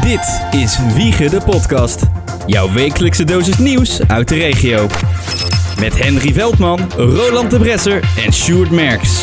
Dit is Wiegen de Podcast. Jouw wekelijkse dosis nieuws uit de regio. Met Henry Veldman, Roland de Bresser en Sjoerd Merks.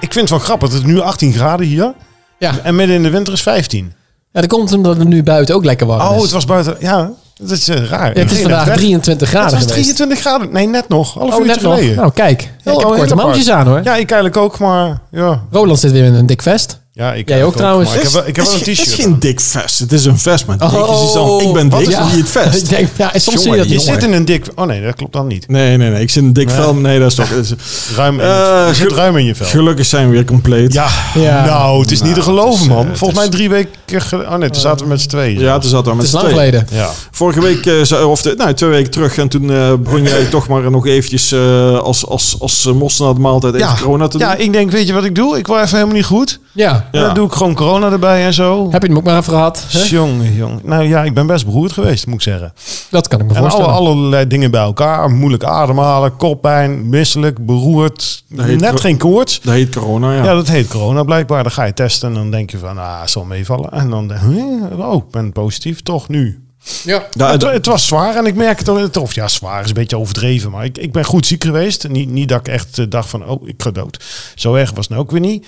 Ik vind het wel grappig. Het is nu 18 graden hier. Ja. En midden in de winter is 15. Ja, dat komt omdat het nu buiten ook lekker warm is. Oh, het was buiten. Ja, dat is eh, raar. dus- Ja, het is vandaag 23 graden. graden Het was geweest. 23 graden. Nee, net nog. Half Oh, uurtje net nog. geleden. Nou, kijk. Ja, Heel- ik heb heel korte apart. mandjes aan hoor. Ja, ik eigenlijk ook, maar ja. Roland zit weer in een dik vest. ja ik Jij ook maar trouwens. Ik heb, wel- ik heb wel Het een is geen- t-shirt. Het is geen dik vest. Het is een vest, maar dik Oh, is iets anders. Ik ben wat dik, is- ja. niet het Ik vest. denk, ja, en soms zie je dat Je niet. zit in een dik... Oh nee, dat klopt dan niet. Nee, nee, nee. Ik zit in een dik vel. Nee, dat is toch... dat is- Ruim in Eh, het- je zit ge- ruim in je vel. Gelukkig zijn we weer compleet. Ja, Ja. nou, het is niet te geloven, het is, eh, man. het Volgens mij is- drie weken... gel- Oh nee, toen zaten we met z'n tweeën. ja het is altijd Het met is z'n lang tweeën. geleden. Ja. Vorige week, eh, zei- of de- nou, twee weken terug, en toen eh, begon jij toch maar nog eventjes eh, als, als, als eh, mos na de maaltijd even Ja. corona te doen. ja, ik denk, weet je wat ik doe? Ik word even helemaal niet goed. Ja. Ja. Dan doe ik gewoon corona erbij en zo. Heb je hem ook maar even gehad? hè? Jongen, jongen. Nou ja, ik ben best beroerd geweest, moet ik zeggen. Dat kan ik me En alle, voorstellen. allerlei dingen bij elkaar. Moeilijk ademhalen, koppijn, misselijk, beroerd. Dat heet Net cor- geen koorts. Dat heet corona, ja. Ja. dat heet corona blijkbaar. Dan ga je testen en dan denk je van, ah, het zal meevallen. En dan, huh? oh, ik ben positief, toch nu. Ja. Ja, het, dat- het was zwaar en ik merk het, al- of ja, zwaar is een beetje overdreven. Maar ik, ik ben goed ziek geweest. Niet, niet dat ik echt eh, dacht van, oh, ik ga dood. Zo erg was het nou ook weer niet.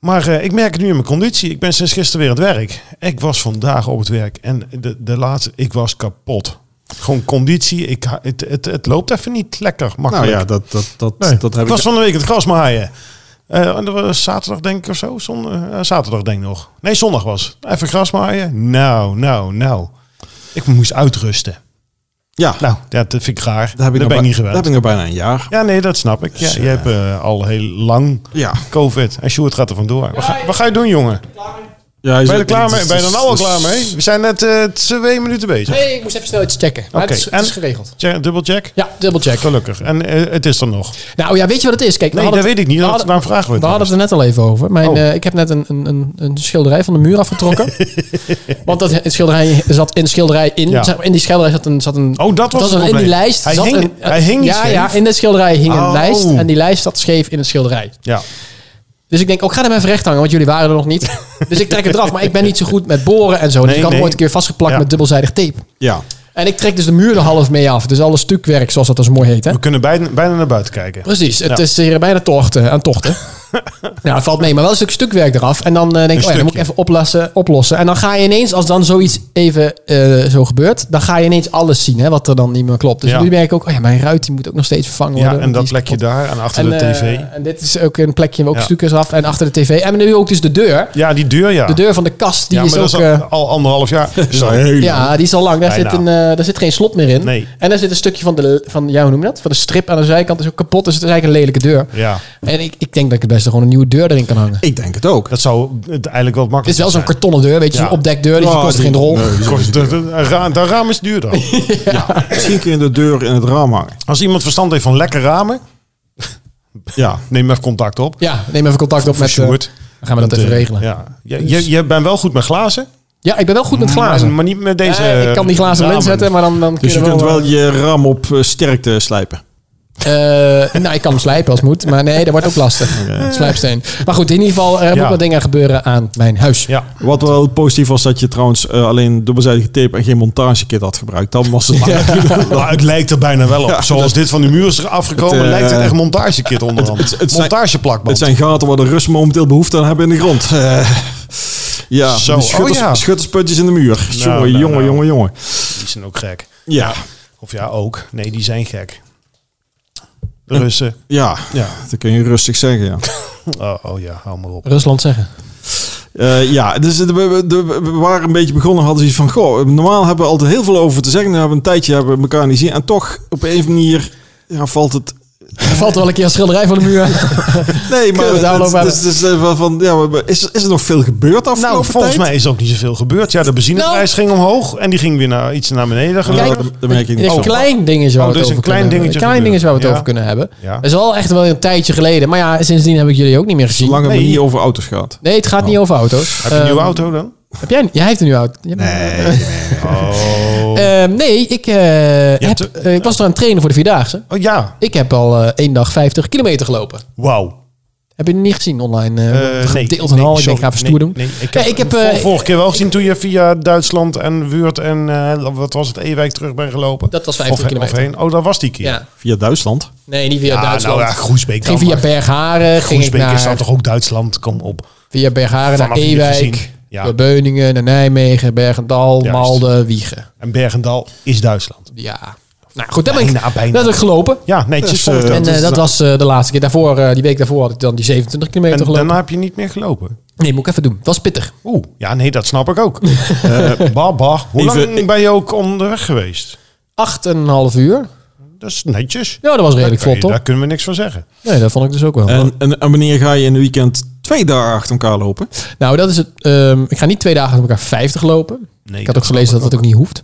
Maar eh, ik merk het nu in mijn conditie. Ik ben sinds gisteren weer aan het werk. Ik was vandaag op het werk en de, de laatste, ik was kapot. Gewoon conditie. Ik, ha- het, het, het loopt even niet lekker nou makkelijk. ja, dat, dat, dat, Nee, dat heb het ik... was van de week het gras maaien. Eh, en dat was zaterdag denk ik of zo. Zon, eh, zaterdag denk ik nog. Nee, zondag was. het. Even gras maaien. Nou, nou, nou. Ik moest uitrusten. ja, Nou, dat vind ik raar. dat heb ik, dat ben nog bij- ik niet dat gewend. heb ik nog bijna een jaar. Ja, nee, dat snap ik. Ja, Dus, je eh, hebt eh, al heel lang Ja. COVID. En Sjoerd gaat er vandoor. Wat ga, wat ga je doen, jongen? ja Ben je er klaar mee? Ben je er nou al klaar mee? We zijn net eh, twee minuten bezig. Nee, ik moest even snel iets checken. Maar Oké, het, is, het is en- geregeld. Check- Dubbelcheck? Ja, dubbelcheck. Gelukkig. En eh, het is er nog. Nou ja, weet je wat het is? Kijk, we Nee, dat hadden weet het- ik niet. we Dat, hadden- daarom vragen we het. We hadden het er net al even over. Mijn, Oh. eh, ik heb net een, een, een, een schilderij van de muur afgetrokken. Want dat het schilderij zat in de schilderij in. Ja. Zeg maar, in die schilderij zat een. Zat een Oh, dat was het een- in die probleem. lijst. Hij zat hing- een, hij hing niet ja, scheef. ja, in de schilderij hing een Oh. lijst. En die lijst zat scheef in het schilderij. Ja. Dus ik denk, oh, ik ga hem even recht hangen, want jullie waren er nog niet. dus ik trek het eraf. Maar ik ben niet zo goed met boren en zo. dus Nee, ik had hem nee. ooit een keer vastgeplakt Ja. met dubbelzijdig tape. Ja. En ik trek dus de muur er half mee af. Dus alles stukwerk, zoals dat dus mooi heet. Hè? We kunnen bijna, bijna naar buiten kijken. Precies, het Ja. is hier bijna tochten, aan tochten. nou, het valt mee, maar wel een stuk stukwerk eraf. En dan eh, denk ik, oh ja, dan moet ik stukje. even oplossen, oplossen. En dan ga je ineens, als dan zoiets even eh, zo gebeurt... dan ga je ineens alles zien, hè, wat er dan niet meer klopt. Dus Ja. nu merk ik ook, oh ja, mijn ruit die moet ook nog steeds vervangen worden. Ja, en want dat die is plekje kapot. daar en achter de en, tv. eh, en dit is ook een plekje waar ook Ja. stukjes af en achter de tv. En nu ook dus de deur. ja, die deur, ja. De deur van de kast, die ja, is maar ook... dat is eh, al, al anderhalf jaar. Sorry. ja, die is al lang. Daar Bijna. zit, een, eh, daar zit geen slot meer in. Nee. En daar zit een stukje van de, van, ja, hoe noem je dat? Van de strip aan de zijkant is ook kapot. Dus het is eigenlijk een lelijke deur. Ja, En ik, ik denk dat ik het beste gewoon een nieuwe deur erin kan hangen. Ik denk het ook. dat zou het eigenlijk wel Het is makkelijk wel zo'n kartonnen deur, weet je, Ja. zo'n opdekdeur, die Ja, kost die- geen rol. nee. Kost- de- de- een ra- Dat raam is duurder. Misschien kun je de deur in het raam hangen. Als iemand verstand heeft van lekker ramen, Ja. neem even contact op. Ja, neem even contact op met... eh, Sjoerd. dan gaan we dat Want, even eh, regelen. Ja. Ja. Je, je, je bent wel goed met glazen. ik ben wel goed met Mm, glazen. Maar, maar niet met deze Ja, ik kan die glazen ramen. erin zetten, maar dan, dan kun eh, Dus je er kunt wel je raam op eh, sterkte slijpen. eh, nou, ik kan hem slijpen als het moet, maar nee, dat wordt ook lastig. Slijpsteen. Maar goed, in ieder geval, er Ja. moeten wat dingen gebeuren aan mijn huis. Ja. Wat wel positief was dat je trouwens eh, alleen dubbelzijdige tape en geen montagekit had gebruikt. Dan was het maar. Maar Nou, het lijkt er bijna wel op. Ja, Zoals dit van de muur is afgekomen, Het, eh, lijkt het echt montagekit onderhand. het- het zijn- Het Montageplakband. zijn gaten waar de Russen momenteel behoefte aan hebben in de grond. Eh, ja, Zo, die oh schutters, ja. schuttersputjes in de muur. jongen, nou, jongen, nou. jongen, jongen. Die zijn ook gek. Ja, Of ja, ook. Nee, die zijn gek. Hm. De Russen. ja, Ja. dat kun je rustig zeggen, ja. Oh, oh ja, hou maar op. Rusland zeggen. Eh, ja, dus de- we, de- we waren een beetje begonnen, hadden zoiets van... Goh, normaal hebben we altijd heel veel over te zeggen. Nu hebben we een tijdje hebben we elkaar niet zien. En toch, op een of andere manier ja, valt het... Er valt wel een keer een schilderij van de muur. Nee, we maar het het, daar het, nog maar- is- het is, eh, van- van, ja, maar is, is er nog veel gebeurd afgelopen Nou, volgens tijd? mij is ook niet zoveel gebeurd. Ja, de benzineprijs ging omhoog en die ging weer naar, iets naar beneden. Ja, geloof Nou. Kijk, ik. dat- dat merk ik niet Een zo. klein dingetje waar Oh, we dus het een over klein kunnen dingetje hebben. Een gebeurt. klein dingetje waar we het Ja. over kunnen hebben. Ja. Dat is al echt wel een tijdje geleden. Maar ja, sindsdien heb ik jullie ook niet meer gezien. Zolang het Nee. niet over auto's gaat. Nee, het gaat niet over Heb auto's. je een Ehm, nieuwe auto dan? Heb jij, jij heeft een nieuwe auto. Je hebt- Oh, Ehm, nee, ik, eh, heb, hebt een- eh, ik was er aan het trainen voor de Vierdaagse. oh ja. Ik heb al eh één dag 50 kilometer gelopen. Wauw. Heb je die niet gezien online? eh Eh, nee, gedeeld en al. Ik sorry, denk, ga even nee, stoer doen. Nee, ik heb, Nee, ik heb, hem eh, vor- vorige keer wel gezien toen je via Duitsland en Weert en eh, wat was het, Ewijk terug bent gelopen. Dat was of, 15 of kilometer. heen. Oh, daar was die keer. Ja. Via Duitsland. Nee, niet via Ah, Duitsland. Nou ja, Groesbeek ging dan via maar. Bergharen. Ging ik Groesbeek is dan naar, toch ook Duitsland? Kom op. via Bergharen naar Vanaf hier Ewijk. gezien, ja. Door Beuningen, naar Nijmegen, Bergendal, Juist. Malden, Wiegen. En Bergendal is Duitsland. Ja. Nou goed, dat ben ik, Bijna, bijna. dat heb ik gelopen. Ja, netjes. Dus, vond ik eh, dat. en eh, is- dat was eh, de laatste keer. Daarvoor, eh, die week daarvoor had ik dan die 27 kilometer en gelopen. daarna heb je niet meer gelopen. Nee, moet ik even doen. Het was pittig. Oeh, ja, nee, dat snap ik ook. Eh, Baba, hoe Even- lang ben je ook onderweg geweest? Acht en een half uur. Dat is netjes. Ja, dat was Daar, kan redelijk vlot, je- toch? daar kunnen we niks van zeggen. Nee, dat vond ik dus ook wel. En, en, en wanneer ga je in het weekend twee dagen achter elkaar lopen? nou, dat is het. ehm, ik ga niet twee dagen achter elkaar 50 lopen. Nee, ik had ook gelezen dat dat ook niet hoeft.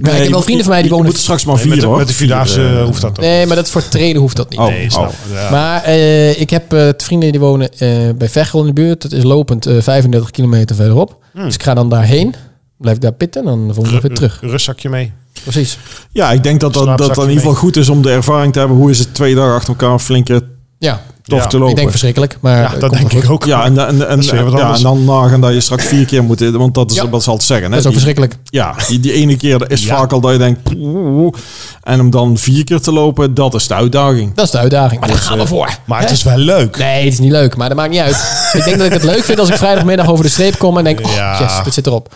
Maar ik heb wel vrienden van mij die Je wonen... moet er straks maar Nee, vier met, de- hoor. met de Vierdaagse Vier, eh, hoeft dat ook. Nee, maar dat voor trainen hoeft dat niet. Oh, Nee, snap ik. Ja. Maar eh, ik heb eh, vrienden die wonen eh, bij Veghel in de buurt. Dat is lopend eh, 35 kilometer verderop. Hmm. Dus ik ga dan daarheen. Blijf daar pitten en dan volgende dag weer terug. Een Rustzakje mee. Precies. Ja, ik denk dat dat, dat, dat in Slaapzakje ieder geval mee. goed is om de ervaring te hebben. Hoe is het twee dagen achter elkaar een flinke Ja, tocht Ja, te lopen? ik denk verschrikkelijk. Maar Ja, eh, dat komt denk wel ik goed. ook. ja, en, en, en, is weer wat ja, anders. en dan nagaan dat je straks vier keer moet... Want dat is Ja. wat ze altijd zeggen. Hè? Dat is ook Die- verschrikkelijk. Ja, die, die ene keer is Ja. vaak al dat je denkt... "Poeh." En om dan vier keer te lopen, dat is de uitdaging. Dat is de uitdaging. Maar daar gaan we voor. Dus, eh, Maar het is wel leuk. Nee, het is niet leuk, maar dat maakt niet uit. ik denk dat ik het leuk vind als ik vrijdagmiddag over de streep kom en denk, oh, Ja. yes, dit zit erop.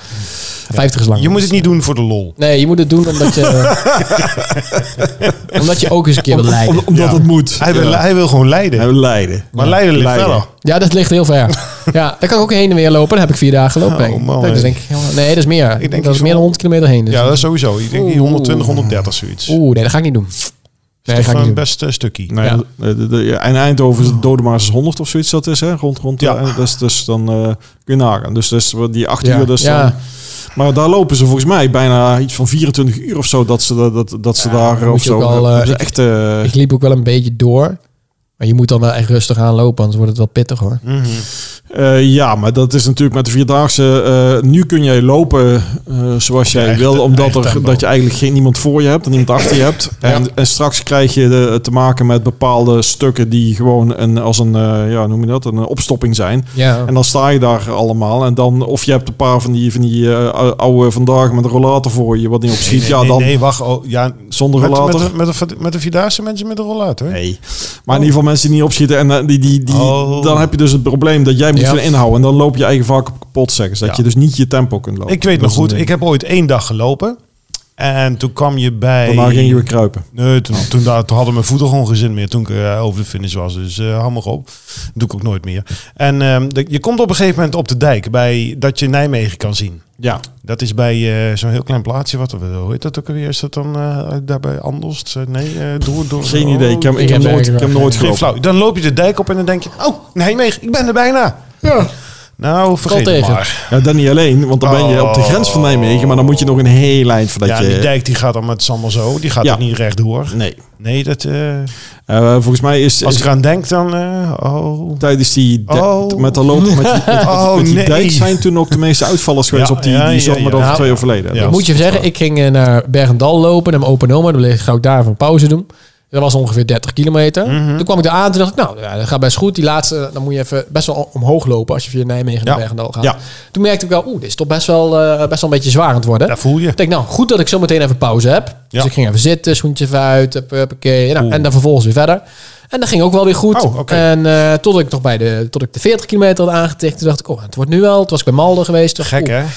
50 is lang. Je moet het niet doen voor de lol. Nee, je moet het doen omdat je... omdat je ook eens een keer wil Om- lijden. omdat Ja. het moet. Hij wil, Ja. hij wil gewoon leiden. Hij wil leiden. maar leiden ligt Leiden. verder. Ja, dat ligt heel ver. Ja, daar kan ik ook heen en weer lopen. Daar heb ik vier dagen gelopen. denk ik. Oh, man, Dat is hè. denk ik helemaal- nee, dat is meer. denk dat iets is meer dan 100 kilometer heen. Dus. Ja, dat is sowieso. Ik denk die 120, 130 zoiets. Dat Oeh, nee, dat ga ik niet doen. Nee, dat is ga ik niet een doen. best eh, stukje. Nee, Ja. de- de- de- ja, en Eindhoven is het Dodemaars 100 of zoiets dat is, hè? Rond, rond. Ja. Ja. Dus, dus dan eh, kun je nagaan. Dus, dus wat die acht Ja. uur. Dus Ja. dan- maar daar lopen ze volgens mij bijna iets van 24 uur of zo dat ze, dat, dat, dat ze daar moet of je zo. ook wel, eh, eh, dus ik- echt, eh, Ik liep ook wel een beetje door. Maar je moet dan wel echt rustig aan lopen, anders wordt het wel pittig hoor. Mm. eh, ja, maar dat is natuurlijk met de vierdaagse. eh, nu kun jij lopen eh, zoals jij eigen- wil, omdat eigen er, tempo. dat je eigenlijk geen niemand voor je hebt en niemand achter je hebt. En, en straks krijg je de, te maken met bepaalde stukken die gewoon een, als een, eh, ja, hoe noem je dat, een eh, opstopping zijn. Ja. En dan sta je daar allemaal. En dan, of je hebt een paar van die, van die eh, oude vandaag met een rollator voor je, wat niet op schiet. Nee, ja, nee, dan nee, wacht. Oh, ja, zonder met, rollator. met, de- met, de, met de Vierdaagse mensen met de rollator. hè? Nee. Maar in ieder geval mensen die niet opschieten. En eh, die, die, die, Oh. dan heb je dus het probleem dat jij moet Ja. gaan inhouden. En dan loop je eigen vaak op kapot, zeggen ze. Dat Ja. je dus niet je tempo kunt lopen. Ik weet Dat nog is een goed, ding. ik heb ooit één dag gelopen. En toen kwam je bij... Daarna ging je weer kruipen. Nee, toen, toen, daar- toen hadden mijn voeten gewoon geen zin meer toen ik eh, over de finish was. Dus eh hou maar op. Dat doe ik ook nooit meer. En ehm, de- je komt op een gegeven moment op de dijk bij, dat je Nijmegen kan zien. Ja. Dat is bij eh, zo'n heel klein plaatsje. Wat, hoe heet dat ook alweer? Is dat dan eh daarbij Andelst? Eh, nee, eh, door, door. Geen oh, idee. Ik heb, ik ik heb heb nooit, ik heb eigenlijk nooit Geen gelopen. flauw. Dan loop je de dijk op en dan denk je... Oh, Nijmegen, ik ben er bijna. Ja. Nou, vergeet Valt het tegen. maar. Ja, dan niet alleen. Want dan ben je op de grens van Nijmegen. Maar dan moet je nog een heel eind Oh. ja, voordat en die je... dijk die gaat dan met allemaal zo. Die gaat Ja. ook niet rechtdoor. Nee. Nee, dat, eh, Eh, volgens mij is... als is- ik eraan denk, dan... eh, oh. Tijdens die de- Oh. met dat lopen met die, met, Oh, met die nee. dijk zijn toen ook de meeste uitvallers geweest Ja, op die, ja, die ja, zomer ja. dat Nou, twee jaar verleden. ja. Dat Ik was- moet je zeggen, ik ging eh, naar Bergendal lopen, naar mijn open oma. Dan bleef- ga ik daar even een pauze doen. Dat was ongeveer 30 kilometer. Mhm. Toen kwam ik daar aan en toen dacht ik, nou, ja, dat gaat best goed. Die laatste, dan moet je even best wel omhoog lopen als je via Nijmegen naar Ja. Bergendal gaat. Ja. Toen merkte ik wel, oeh, dit is toch best wel, eh, best wel een beetje zwaar aan het worden. Daar voel je. Ik denk, nou, goed dat ik zo meteen even pauze heb. Dus Ja. ik ging even zitten, schoentje even uit, hup, huppakee. Nou, Oeh. en dan vervolgens weer verder. En dat ging ook wel weer goed. Oh, oké. En eh totdat ik nog bij de, tot ik de 40 kilometer had aangetikt, toen dacht ik, oh, het wordt nu wel. Toen was ik bij Malden geweest. Toen dacht ik, Gek, oeh, hè?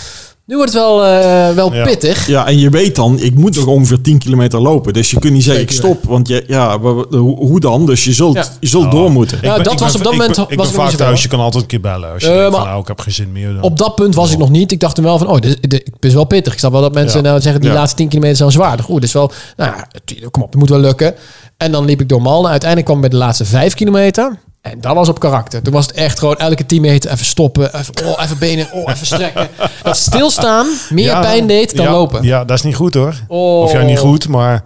Nu wordt het wel, eh, wel Ja. pittig. Ja, en je weet dan, ik moet nog ongeveer 10 kilometer lopen. Dus je kunt niet zeggen, ik Zeker. stop. Want je, ja, wa- wa- hoe hoe dan? Dus je zult, Ja. je zult door moeten. Ja, dat was op dat Oh. ik moment ben- Ik was ben het nog vaak niet zo thuis. ver. Je kan altijd een keer bellen als je Eh, denkt van, maar- nou, ik heb geen zin meer. Dan. Op dat punt was ik nog niet. Ik dacht hem wel van, oh, dit, dit, het is wel pittig. Ik snap wel dat mensen Ja. nou zeggen, die Ja. laatste 10 kilometer zijn zwaar. Goed, dus wel, nou ja, het- kom op, het moet wel lukken. En dan liep ik door Malden. Uiteindelijk kwam ik bij de laatste 5 kilometer. En dat was op karakter. Toen was het echt gewoon elke 10 meter even stoppen. Even, oh, even benen, oh, even strekken. Dat stilstaan meer Ja, pijn deed dan ja, lopen. Ja, dat is niet goed hoor. Oh. Of ja, niet goed, maar...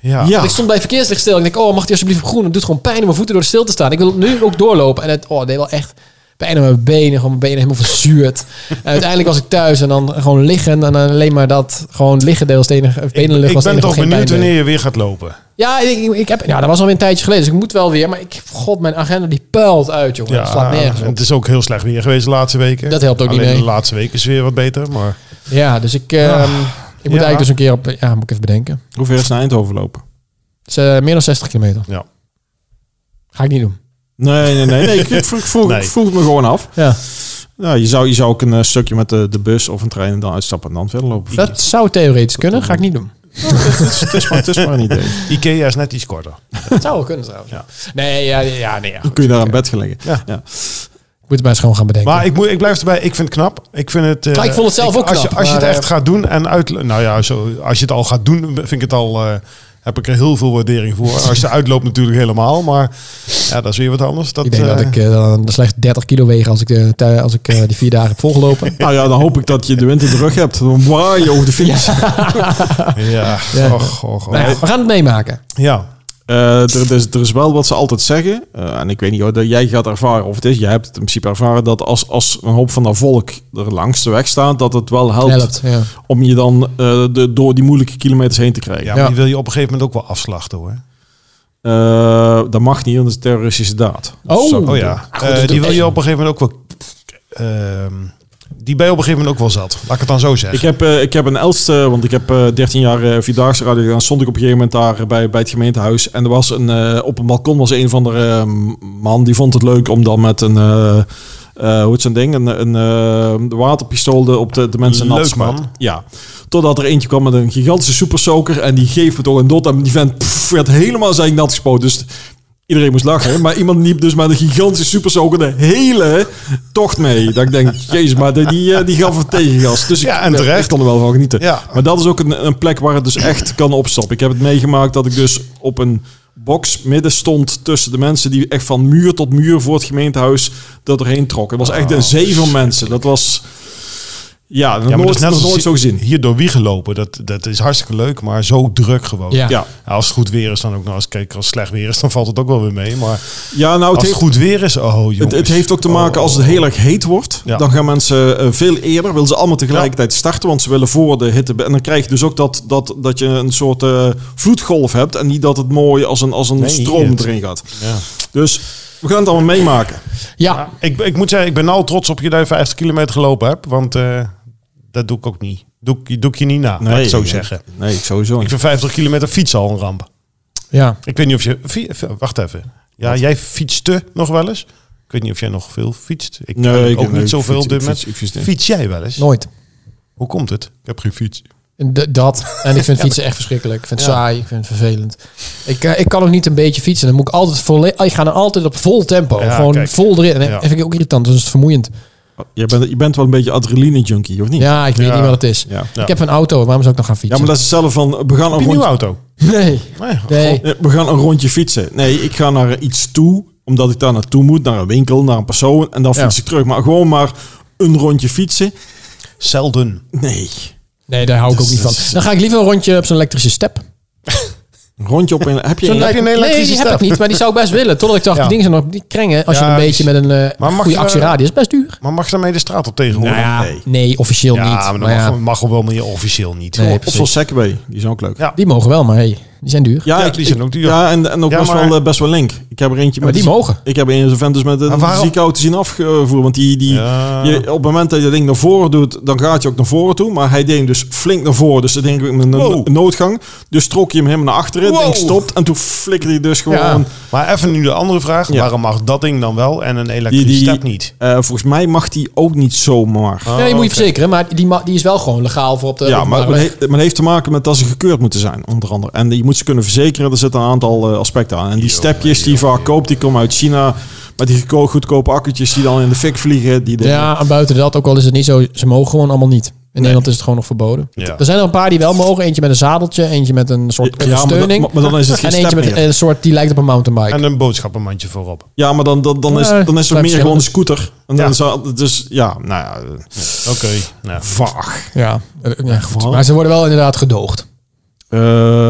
Ja, Ja. Want Ik stond bij verkeerslicht stil. Ik denk, oh, mag die alsjeblieft op groen? Het doet gewoon pijn om mijn voeten door stil te staan. Ik wil nu ook doorlopen. En het, oh, het deed wel echt Bijna mijn benen, gewoon mijn benen helemaal verzuurd. en uiteindelijk was ik thuis en dan gewoon liggen. En dan alleen maar dat, gewoon liggen deels enige, of Ik, benenlucht ik was het ben enige toch wat geen benieuwd pijn deed. wanneer je weer gaat lopen. Ja, ik, ik- ik heb, ja, dat was alweer een tijdje geleden. Dus ik moet wel weer. Maar ik, god, mijn agenda die puilt uit, jongen. dat slaat nergens en op. het is ook heel slecht weer geweest de laatste weken. Dat helpt ook niet Alleen mee. de laatste weken is weer wat beter. Maar Ja, dus ik, ehm, Ah, ik moet ja. eigenlijk dus een keer op... Ja, moet ik even bedenken. Hoe ver is naar Eindhoven lopen? Het is eh, meer dan 60 kilometer. ja. Ga ik niet doen. Nee, nee, nee. nee ik, ik vroeg, ik vroeg, Nee. ik vroeg het me gewoon af. Ja, Nou, je, zou, je zou ook een eh, stukje met de, de bus of een trein en dan uitstappen en dan verder lopen. dat zou theoretisch kunnen. Ga ik niet doen. het, is maar, het is maar een idee. Ikea is net iets korter. Dat zou wel kunnen trouwens. Ja. Nee, ja, ja, nee. Ja, Dan kun je daar aan bed gaan liggen. Ja. Ik moet het maar eens gewoon gaan bedenken. Maar ik, moet, ik blijf erbij. Ik vind het knap. Ik, vind het, eh, Ja, ik vond het zelf ook als je- knap, als je het maar, echt eh, gaat doen en uit... Nou ja, zo, als je het al gaat doen, vind ik het al... eh, heb ik er heel veel waardering voor. Als je uitloopt natuurlijk helemaal. Maar ja, dat is weer wat anders. Dat, ik denk dat eh, ik eh, dan slechts 30 kilo weeg als ik, de tui- als ik eh, die vier dagen heb volgelopen. Nou ja, dan hoop ik dat je de winter terug hebt. Dan waai je over de finish. Ja, Ja. Och, och, och. Nou ja, we gaan het meemaken. Ja, Eh, er, er is, er is wel wat ze altijd zeggen. eh, en ik weet niet hoor, dat jij gaat ervaren of het is. Jij hebt het in principe ervaren dat als, als een hoop van dat volk er langs de weg staat, dat het wel helpt, Helpt. Ja. om je dan eh, de, door die moeilijke kilometers heen te ja, krijgen. maar Ja. die wil je op een gegeven moment ook wel afslachten hoor. Eh, dat mag niet, want het is een terroristische daad. Dat Oh. zou ik Oh doen. ja, Ah, goed, dat Eh, doe die ik wil echt. je op een gegeven moment ook wel... ehm, die ben je op een gegeven moment ook wel zat. Laat ik het dan zo zeggen. Ik heb, eh, ik heb een Elste, want ik heb eh, 13 jaar eh Vierdaagse radio gedaan. Stond ik op een gegeven moment daar eh, bij, bij het gemeentehuis. En er was een, eh, op een balkon was een van de eh, man, die vond het leuk om dan met een, eh, eh, hoe het zo'n ding, een, een eh, waterpistool de- op de, de mensen nat te Leuk, spuiten. man. Ja. Totdat er eentje kwam met een gigantische supersoker en die geeft het ook een dot. En die vent pff, werd helemaal zijn nat gespoten. Dus iedereen moest lachen. Maar iemand liep dus met een gigantische supersoker de hele tocht mee. Dat ik denk, jezus, maar die, die, eh, die gaf het tegengas. Dus ik, Ja, en ik- terecht. Ik kon er wel van genieten. Ja. Maar dat is ook een, een plek waar het dus echt kan opstoppen. Ik heb het meegemaakt dat ik dus op een box midden stond tussen de mensen die echt van muur tot muur voor het gemeentehuis dat erheen trokken. Het was echt een zee van mensen. Dat was... Ja, dat Oh, Ja, maar nooit, dat is net nog als nooit zo gezien. hier door wie gelopen. Dat, dat is hartstikke leuk, maar zo druk gewoon. Ja. Ja. Ja, als het goed weer is, dan ook nog. Als, kijk, als het slecht weer is, dan valt het ook wel weer mee. Maar ja, nou, het als het heeft, goed weer is, oh jongens. het, het heeft ook te maken als het heel erg heet wordt. Ja. Dan gaan mensen eh, veel eerder, willen ze allemaal tegelijkertijd starten, want ze willen voor de hitte. be- En dan krijg je dus ook dat, dat, dat je een soort eh, vloedgolf hebt en niet dat het mooi als een, als een Nee, stroom het- erin gaat. Ja. Dus we gaan het allemaal meemaken. ja, Ik, ik moet zeggen, ik ben nou trots op je dat je 50 kilometer gelopen hebt. Want eh, dat doe ik ook niet. Doe, ik- doe ik je niet na, laat ik het zo zeggen. Nee, ik sowieso Ik niet. vind 50 kilometer fietsen al een ramp. ja. Ik weet niet of je... fi- wacht even. Ja, jij fietste nog wel eens. Ik weet niet of jij nog veel fietst. Ik Nee, ik- ook nee, niet ik zoveel fiets- op dit ik moment. fiets- ik fiets niet. Fiets jij wel eens? nooit. Hoe komt het? Ik heb geen fiets. D- dat. En ik vind fietsen echt verschrikkelijk. Ik vind het saai. Ik vind het vervelend. Ik, eh, ik kan ook niet een beetje fietsen. Dan moet ik altijd volle. ah, Ik ga dan altijd op vol tempo. Ja, gewoon kijk. vol erin. En Ja. dat vind ik ook irritant. Dus het is vermoeiend. Je bent, je bent wel een beetje adrenaline-junkie, of niet? Ja, ik weet Ja. niet wat het is. Ja. Ik heb een auto. Waarom zou ik nog gaan Ja, fietsen? maar dat is hetzelfde van, we gaan, Heb een je een nieuwe rondje, auto? Nee. Nee. Nee. eh, we gaan een rondje fietsen. Nee, ik ga naar iets toe, omdat ik daar naartoe moet, naar een winkel, naar een persoon, en dan Ja. fiets ik terug. Maar gewoon maar een rondje fietsen, Zelden. nee. Nee, daar hou ik ook niet van. Dan ga ik liever een rondje op zo'n elektrische step. Een rondje op een... Heb je Zo'n een... Heb je een elektrische nee, die heb step? ik niet, maar die zou ik best willen. Totdat ik dacht, Ja. die dingen zijn nog die kringen. Als je Ja, een beetje met een eh, Maar mag goede je- actieradius, best duur. Maar mag je daarmee de straat op tegenwoordig? nee. Nee, officieel Nou ja, niet. maar dat Maar ja, mag, mag ook wel, maar je officieel niet. Nee, Gewoon- Of zo'n Segway, die is ook leuk. Ja. die mogen wel, maar hey, die zijn duur. Ja, Ja, ik- die zijn ik- ook duur. Ja, en, en ook Ja, best, maar- wel, eh, best wel link. Ik heb er eentje maar met... die mogen. Ik heb een zo'n vent dus met Maar een waarom- ziekenauto zien afgevoerd. Want die, die, Ja. je, op het moment dat je dat ding naar voren doet, dan gaat je ook naar voren toe. Maar hij deed hem dus flink naar voren. Dus dat denk ik een, Wow. een noodgang. Dus trok je hem helemaal naar achteren. Het Wow. ding stopt. En toen flikkerde hij dus gewoon... Ja. Maar even nu de andere vraag. Ja. Waarom mag dat ding dan wel en een Die, elektrische die, step niet? eh, volgens mij mag die ook niet zomaar. nee, die moet je oké. verzekeren, maar die, ma- die is wel gewoon legaal voor op de... ja, maar openbare weg. het heeft, maar het heeft te maken met dat ze gekeurd moeten zijn, onder andere. En je moet ze kunnen verzekeren. Er zitten een aantal eh, aspecten aan. En die stepjes die je vaak koopt, die komen uit China. Met die geko- goedkope akkertjes die dan in de fik vliegen. Die dingen. Ja, en buiten dat, ook al is het niet zo, ze mogen gewoon allemaal niet. In Nederland is het gewoon nog verboden. Ja. Er zijn er een paar die wel mogen. Eentje met een zadeltje, eentje met een soort Ja, maar dan- steuning. maar- maar dan is het geen En eentje step met meer. een soort, die lijkt op een mountainbike. En een boodschappenmandje voorop. Ja, maar dan, dan, dan, is, Ja, dan klein is er meer verschil. gewoon een scooter. En dan Ja. zou, dus ja, nou ja, eh, Oké. Nou. vaag. Ja, eh, ja, goed. maar ze worden wel inderdaad gedoogd.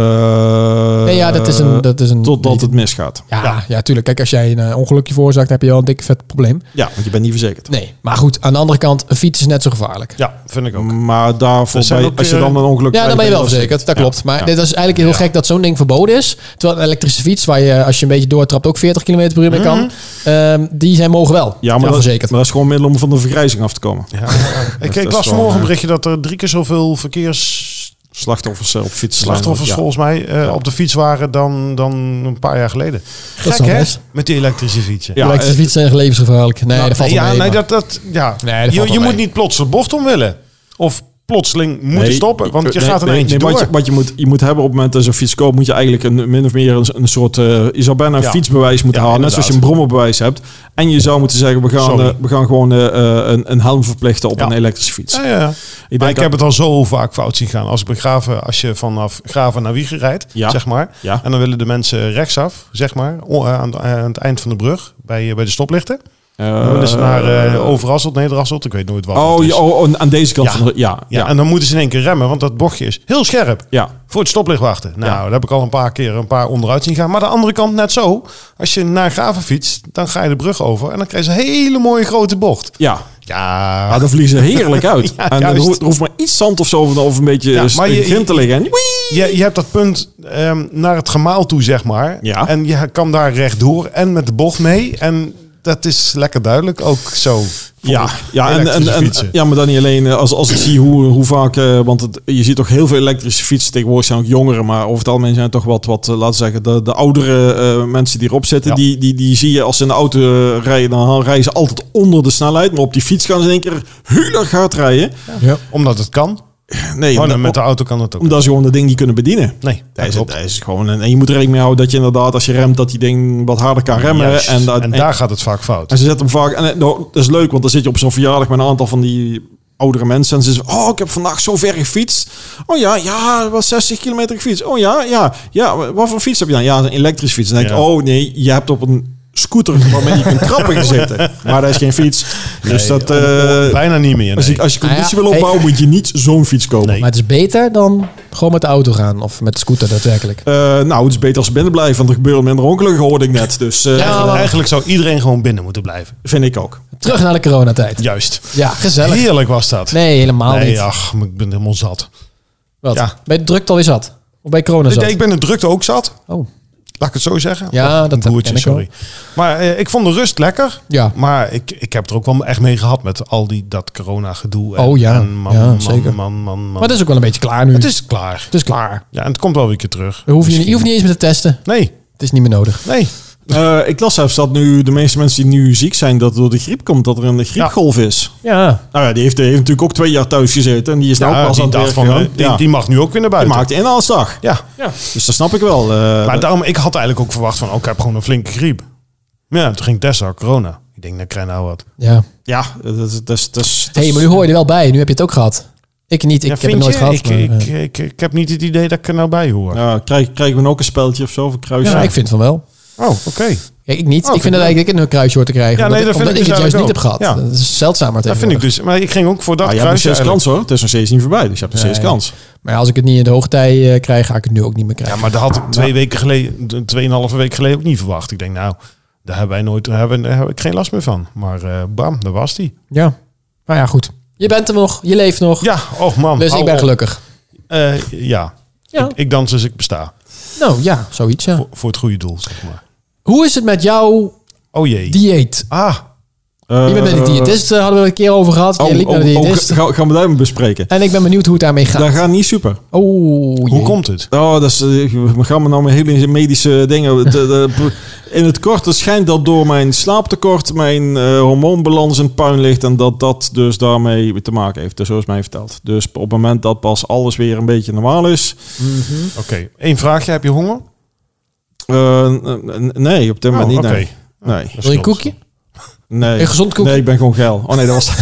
Eh, Nee, ja, dat is een... Dat is een Totdat het misgaat. Ja, ja, tuurlijk. Kijk, als jij een eh, ongelukje veroorzaakt, heb je al een dikke vet probleem. Ja, want je bent niet verzekerd. Nee, maar goed, aan de andere kant, een fiets is net zo gevaarlijk. Ja, vind ik Mm, ook. Maar daarvoor, Er zijn bij, ook, als je dan eh, een ongeluk Ja, dan krijgt, ben je wel afzeker. verzekerd. Dat Ja. klopt. Maar Ja. dit is eigenlijk heel gek dat zo'n ding verboden is. Terwijl een elektrische fiets, waar je als je een beetje doortrapt ook 40 km per uur mee kan, ehm, die zijn mogen wel. Ja, maar, dat, verzekerd. maar dat is gewoon middel om van de vergrijzing af te komen. Ja. ik, dat ik is las wel, vanmorgen eh, een berichtje dat er drie keer zoveel verkeersslachtoffers Slachtoffers eh, op fietsen. slachtoffers Ja. volgens mij eh, Ja. op de fiets waren dan, dan een paar jaar geleden. is Gek wel hè? best. Met die elektrische fietsen. Ja, elektrische eh, fietsen zijn levensgevaarlijk. Nee, Nou, dat valt wel ja, mee, nee, maar- dat, dat, ja. Nee, dat valt je je wel moet mee. niet plots een bocht om willen. Of plotseling moeten Nee, stoppen. Want je nee, gaat er nee, eentje nee, door. Wat je, wat je, moet, je moet hebben op het moment dat je een fiets koopt, moet je eigenlijk een, min of meer een, een soort... eh, je zou bijna een Ja. fietsbewijs moeten Ja, halen, net inderdaad. zoals je een brommerbewijs hebt. En je zou moeten zeggen, we gaan, Sorry. eh, we gaan gewoon eh, eh, een, een helm verplichten op Ja. Eh, een elektrische fiets. Ja, ja. Ik maar denk ik dat- heb het al zo vaak fout zien gaan. Als ik begraven, als je vanaf graven naar Wiegen rijdt, Ja. zeg maar. Ja. En dan willen de mensen rechtsaf, zeg maar, o- eh, aan, aan het eind van de brug, bij, eh, bij de stoplichten. Eh, Dan willen ze naar eh Overasselt, Nederasselt, ik weet nooit wat. oh, het is. ja, oh, oh, aan deze kant Ja. van de... Ja, Ja, ja, en dan moeten ze in één keer remmen, want dat bochtje is heel scherp. ja. Voor het stoplicht wachten. Nou, daar heb ik al een paar keer een paar onderuit zien gaan. Maar de andere kant net zo. Als je naar Graven fietst, dan ga je de brug over. En dan krijg je een hele mooie grote bocht. ja. Ja, Ah, dan vliegen ze heerlijk uit. Ja, en er juist. hoeft, er hoeft maar iets zand of zo of, of een beetje eh, Ja, ja, maar je- te liggen. En, wii! je, je hebt dat punt ehm, naar het gemaal toe, zeg maar. Ja. En je kan daar rechtdoor en met de bocht mee. En dat is lekker duidelijk ook zo. Ja, ja, en, en, elektrische en, fietsen. ja, maar dan niet alleen. eh, Als, als ik zie hoe, hoe vaak... eh, want het- je ziet toch heel veel elektrische fietsen. Tegenwoordig zijn ook jongeren. Maar over het algemeen zijn het toch wat, wat eh, laten we zeggen, de, de oudere eh, mensen die erop zitten. Ja. Die, die, die zie je als ze in de auto eh, rijden. Dan rijden ze altijd onder de snelheid. Maar op die fiets gaan ze in één keer heel erg hard rijden. Ja. Omdat het kan. Nee, Oh, omdat- nee, met de auto kan het ook. omdat ze gewoon dat ding niet kunnen bedienen. Nee, Dat dat is, klopt. dat is gewoon een, en je moet er rekening mee houden dat je inderdaad als je remt dat die ding wat harder kan remmen. Juist. en, dat, en daar gaat het vaak fout. en ze zetten hem vaak. En eh, nou, dat is leuk, want dan zit je op zo'n verjaardag met een aantal van die oudere mensen. En ze zeggen, oh, ik heb vandaag zo ver gefietst. Oh ja, ja, dat was 60 kilometer gefietst. Oh ja, ja, ja. wa- Wat voor fiets heb je dan? Ja, een elektrische fiets. Dan denk ik, Ja. oh nee, je hebt op een scooter waarmee je kunt trappen gezeten. Maar dat is geen fiets. dus dat... eh, Bijna niet meer. als, nee. je, als je Ah ja, conditie wil opbouwen, moet je niet zo'n fiets kopen. Nee. Maar het is beter dan gewoon met de auto gaan of met de scooter daadwerkelijk. Eh, nou, het is beter als ze binnen blijven, want er gebeuren minder ongelukken, hoorde ik net. Dus eh, Ja, maar- Eigenlijk zou iedereen gewoon binnen moeten blijven. vind ik ook. Terug naar de coronatijd. Ja, Juist. gezellig. Heerlijk was dat. Nee, helemaal Nee, niet. ach, maar ik ben helemaal zat. Wat? Ja. Ben je de drukte alweer zat? Of bij corona zat? Ik ben de drukte ook zat. Oh. Laat ik het zo zeggen. Ja, Oh, dat broertje, ken ik wel. sorry. Maar eh, ik vond de rust lekker. Ja. Maar ik, ik heb er ook wel echt mee gehad met al die dat corona gedoe. En, Oh ja, en man, ja, man, zeker. man, man, man. Maar het is ook wel een beetje klaar nu. het is klaar. Het is klaar. Ja, en het komt wel weer een keer terug. Je hoeft, je, Misschien. je hoeft niet eens meer te testen. Nee, Het is niet meer nodig. nee. Eh, ik las zelfs dat nu de meeste mensen die nu ziek zijn, dat het door de griep komt, dat er een griepgolf is. Ja. Nou ja, die heeft, die heeft natuurlijk ook twee jaar thuis gezeten en die is nou Ja, pas aan die, het dacht werk van, gegaan. eh, die, ja. die mag nu ook weer naar Die buiten. maakt inhaalslag. Ja. Dus dat snap ik wel. eh, Maar daarom, ik had eigenlijk ook verwacht van, oh, ik heb gewoon een flinke griep. Ja, toen ging Tessa corona. Ik denk, nou krijg je nou wat. ja. ja, dat is... Dat is, dat is- dat Hé, hey, is- maar nu hoor je er wel bij. Nu heb je het ook gehad. Ik niet. Ik Ja, heb vind het nooit je? gehad. Ik, maar, ik, eh, ik, ik heb niet het idee dat ik er nou bij hoor. Ja, krijg, krijgen we dan ook een spelletje of zo? Of een kruisje? ja, ik vind van wel. Oh, oké. Kijk, ik niet. Oh, ik vind dat eigenlijk ik een kruisje hoor te krijgen. Ja, omdat nee, ik, dat vind omdat ik ik het dus juist niet heb eigenlijk gehad. ook. Ja. Dat is zeldzamer Dat vind ik tegenwoordig. dus. Maar ik ging ook voor dat Ah, je hebt nog kruisje steeds eigenlijk. kans hoor. Het is nog steeds niet voorbij, dus je hebt nog steeds Nee. kans. Maar ja, als ik het niet in de hoogtij eh, krijg, ga ik het nu ook niet meer Ja, krijgen. maar dat had ik twee weken geleden, d- tweeënhalve week geleden ook niet verwacht. Ik denk, nou, daar hebben wij nooit, daar hebben, daar heb ik geen last meer van. Maar eh, bam, daar was die. Ja. Maar ja, goed. Je bent er nog. Je leeft nog. Ja, oh man. dus hou ik ben op. gelukkig. Eh, ja, Ja. ik dans dus ik besta. Nou ja, zoiets ja. Voor, voor het goede doel, zeg maar. Hoe is het met jouw Oh jee. dieet? ah, Eh, Je bent bij de diëtist, eh, hadden we een keer over gehad. Oh, je liep oh, naar de oh, diëtist. ga- gaan we daar maar bespreken. En ik ben benieuwd hoe het daarmee gaat. Dat gaat niet super. Oh, hoe jee. komt het? Oh, dat is, eh, we gaan me nou met hele medische dingen. De- de- in het kort, het schijnt dat door mijn slaaptekort mijn eh, hormoonbalans in het puin ligt. En dat dat dus daarmee te maken heeft. Dus zo is mij verteld. Dus op het moment dat pas alles weer een beetje normaal is. Oké, één vraagje. Heb je honger? eh, n- n- nee, op dit moment Oh, niet. oké. Nee. nee. Wil je een koekje? Nee. Een gezond koekje? Nee, ik ben gewoon geil. Oh nee, dat was...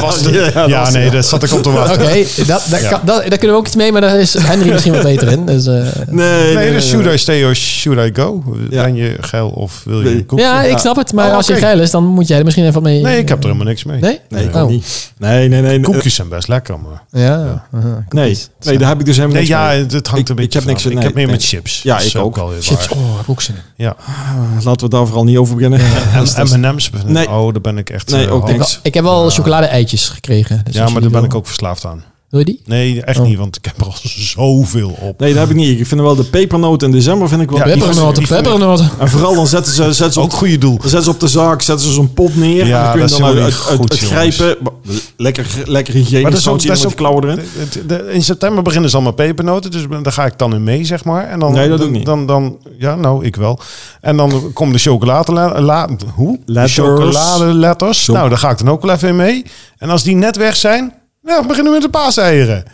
Was het- ja, nee, dat zat ik op te Oké, wachten. dat, dat, Ja. kan- dat- daar kunnen we ook iets mee, maar daar is Henry misschien wat beter in. Dus, eh, Nee, Nee, dus should I stay or should I go? Ja. Ben je geil of wil je Nee. een koekje? ja, ik Ja. snap het, maar Oh, als je oké. geil is, dan moet jij er misschien even wat mee. Nee, ik heb er helemaal niks mee. Nee? Nee, ik Oh. ook niet. Nee, nee, nee. Koekjes zijn best lekker, maar... Ja, aha. Nee, nee, daar heb ik dus helemaal Nee, niks ja, mee. het hangt Ik- een beetje ik heb vanaf. niks- nee, ik heb meer nee. met chips. Ja, Dat is ik ook. alweer Chips, waar. oh, heb ik ook zin in. Ja. Laten we daar vooral niet over beginnen. En M&M's. Nee. Oh, daar ben ik echt... Nee, eh, ook half- niks. Ik heb wel chocolade-eitjes gekregen. dus Ja, als maar daar jullie ben wil- ik ook verslaafd aan. Wil je die? Nee, echt Oh. niet, want ik heb er al zoveel op. Nee, dat heb ik niet. Ik vind wel de pepernoot in december vind ik wel... Ja, die was- Peppernoten, die vond ik- peppernoten. En vooral dan zetten ze, zetten ze Ook op, goede doel. zetten ze op de zaak, zetten ze zo'n pot neer. Ja, en dan kun dat je is dan uit, helemaal niet uit, uit- goed, uit jongens. grijpen. Maar Lekker, lekker hygiënisch. Maar dat is ook- zoutje dat is met ook- de klauwen erin. Het- het- de- in september beginnen ze allemaal pepernoten, dus daar ga ik dan in mee, zeg maar. En dan, Nee, dat dan, doe ik niet. Dan, dan, ja, nou, ik wel. En dan komen de chocolade... La, la- hoe? De Letters. Chocoladeletters. Zo. Nou, daar ga ik dan ook wel even in mee. En als die net weg zijn, nou, we beginnen we met de paaseieren.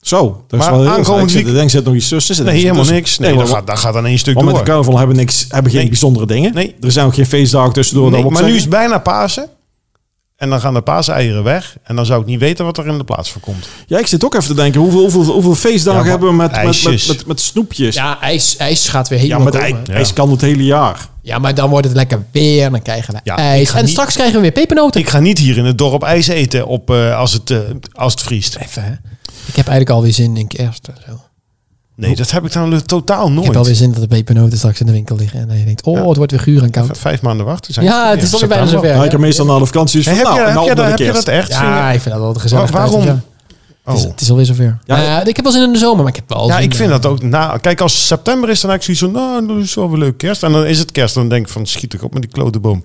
Zo, dat is Maar wel heel aankomend ik zit- week- Ik denk, zit nog iets tussen. Zit Nee, er helemaal tussen. niks. Nee, dus- maar- daar, gaat, daar gaat dan één stuk Want met de door. carnaval hebben, niks, hebben geen Nee. bijzondere dingen. Nee. Er zijn ook geen feestdagen tussendoor. Nee, dat wil maar ik nu is zeggen. het bijna Pasen. En dan gaan de paaseieren weg. En dan zou ik niet weten wat er in de plaats voor komt. Ja, ik zit ook even te denken. Hoeveel, hoeveel, hoeveel feestdagen Ja, maar hebben we met, met, met, ijsjes. met, met snoepjes? Ja, Ja, ijs, ijs gaat weer helemaal met komen. ij, Ja. ijs kan het hele jaar. Ja, maar dan wordt het lekker weer en dan krijgen we Ja, ik ijs. ga En niet- straks krijgen we weer pepernoten. Ik ga niet hier in het dorp ijs eten op, eh, als, het, eh, als het vriest. Even, hè. Ik heb eigenlijk alweer zin in kerst en zo. Nee, dat heb ik dan totaal Ik heb alweer nooit. zin dat de pepernoten straks in de winkel liggen. En dan je denkt, oh, het wordt weer guur en V- koud. Vijf maanden wachten zijn. Ja, het is alweer bijna september. zover. Ja, Nou, ik heb hè. meestal na de vakantie. Is Hey, van, heb, nou, je, heb, nou, je, dan heb de je kerst. dat echt? Ja, Vind ik vind dat wel je- gezellig. Wa- waarom? Het is, Oh. het is alweer zover. Ja, Ja, ik heb wel zin in de zomer, maar ik heb wel Ja, zin ik vind in- dat ook. Na, kijk, als september is, dan heb ik zoiets van, nou, dat is wel weer leuk kerst. En dan is het kerst. Dan denk ik van, schiet ik op met die klote boom.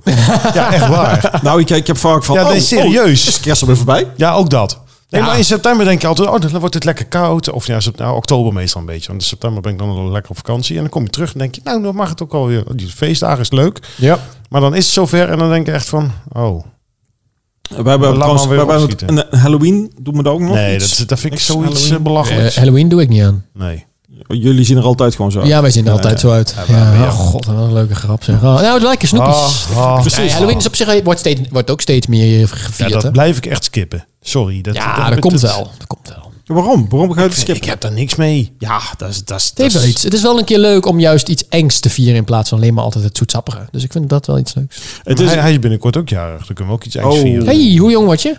ja, echt waar. Nou, ik, ik heb vaak van... Ja, oh, nee, serieus. Oh, is de kerst alweer voorbij? Ja, ook dat. Nee, Ja. maar in september denk je altijd, oh, dan wordt het lekker koud. Of ja, sept- nou, oktober meestal een beetje. Want in september ben ik dan al lekker op vakantie. En dan kom je terug en denk je, nou, dan mag het ook alweer. Die feestdagen is leuk. Ja. Maar dan is het zover en dan denk je echt van, oh. We hebben maar trouwens... We weer hebben het- opschieten. een Halloween doen we dat ook nog? Nee, iets? dat, dat vind ik Niks zoiets eh, Halloween? belachelijks. Eh, Halloween doe ik niet aan. Nee. Jullie zien er altijd gewoon zo uit. Ja, wij zien er Ja, altijd ja. zo uit. Ja, Ja, maar- ja. Oh, god, wat een leuke grap. Zeg. Oh, nou, lekker snoepjes. Ah, ah. Precies. Ja, eh, Halloween is op zich wordt, steeds, wordt ook steeds meer eh, Ja, gevierd. hè. dat blijf ik echt skippen. Sorry. Dat, ja, dat komt wel. Dat komt wel. Waarom? Waarom ga je het Ik skippen? heb daar niks mee. Ja, dat is... Dat is Het heeft dat wel is- iets. Het is wel een keer leuk om juist iets engs te vieren in plaats van alleen maar altijd het zoetsappige. Dus ik vind dat wel iets leuks. Het Maar is... hij, hij is binnenkort ook jarig. Dan kunnen we ook iets eigen Oh. vieren. hey, hoe jong word je?